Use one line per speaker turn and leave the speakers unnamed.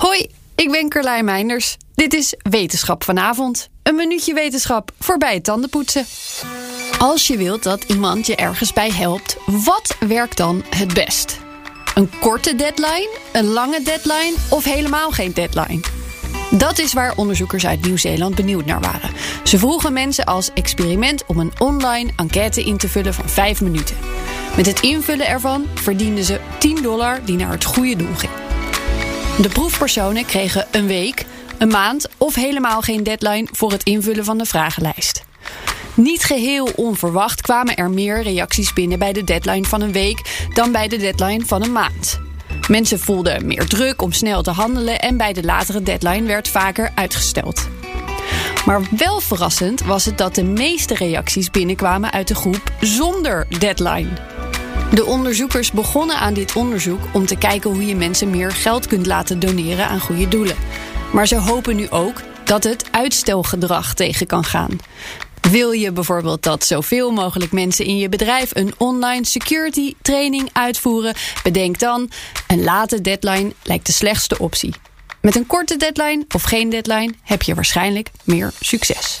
Hoi, ik ben Carlijn Meinders. Dit is Wetenschap vanavond. Een minuutje wetenschap voorbij het tandenpoetsen. Als je wilt dat iemand je ergens bij helpt, wat werkt dan het best? Een korte deadline, een lange deadline of helemaal geen deadline? Dat is waar onderzoekers uit Nieuw-Zeeland benieuwd naar waren. Ze vroegen mensen als experiment om een online enquête in te vullen van 5 minuten. Met het invullen ervan verdienden ze 10 dollar die naar het goede doel ging. De proefpersonen kregen een week, een maand of helemaal geen deadline voor het invullen van de vragenlijst. Niet geheel onverwacht kwamen er meer reacties binnen bij de deadline van een week dan bij de deadline van een maand. Mensen voelden meer druk om snel te handelen en bij de latere deadline werd vaker uitgesteld. Maar wel verrassend was het dat de meeste reacties binnenkwamen uit de groep zonder deadline. De onderzoekers begonnen aan dit onderzoek om te kijken hoe je mensen meer geld kunt laten doneren aan goede doelen. Maar ze hopen nu ook dat het uitstelgedrag tegen kan gaan. Wil je bijvoorbeeld dat zoveel mogelijk mensen in je bedrijf een online security training uitvoeren? Bedenk dan, een late deadline lijkt de slechtste optie. Met een korte deadline of geen deadline heb je waarschijnlijk meer succes.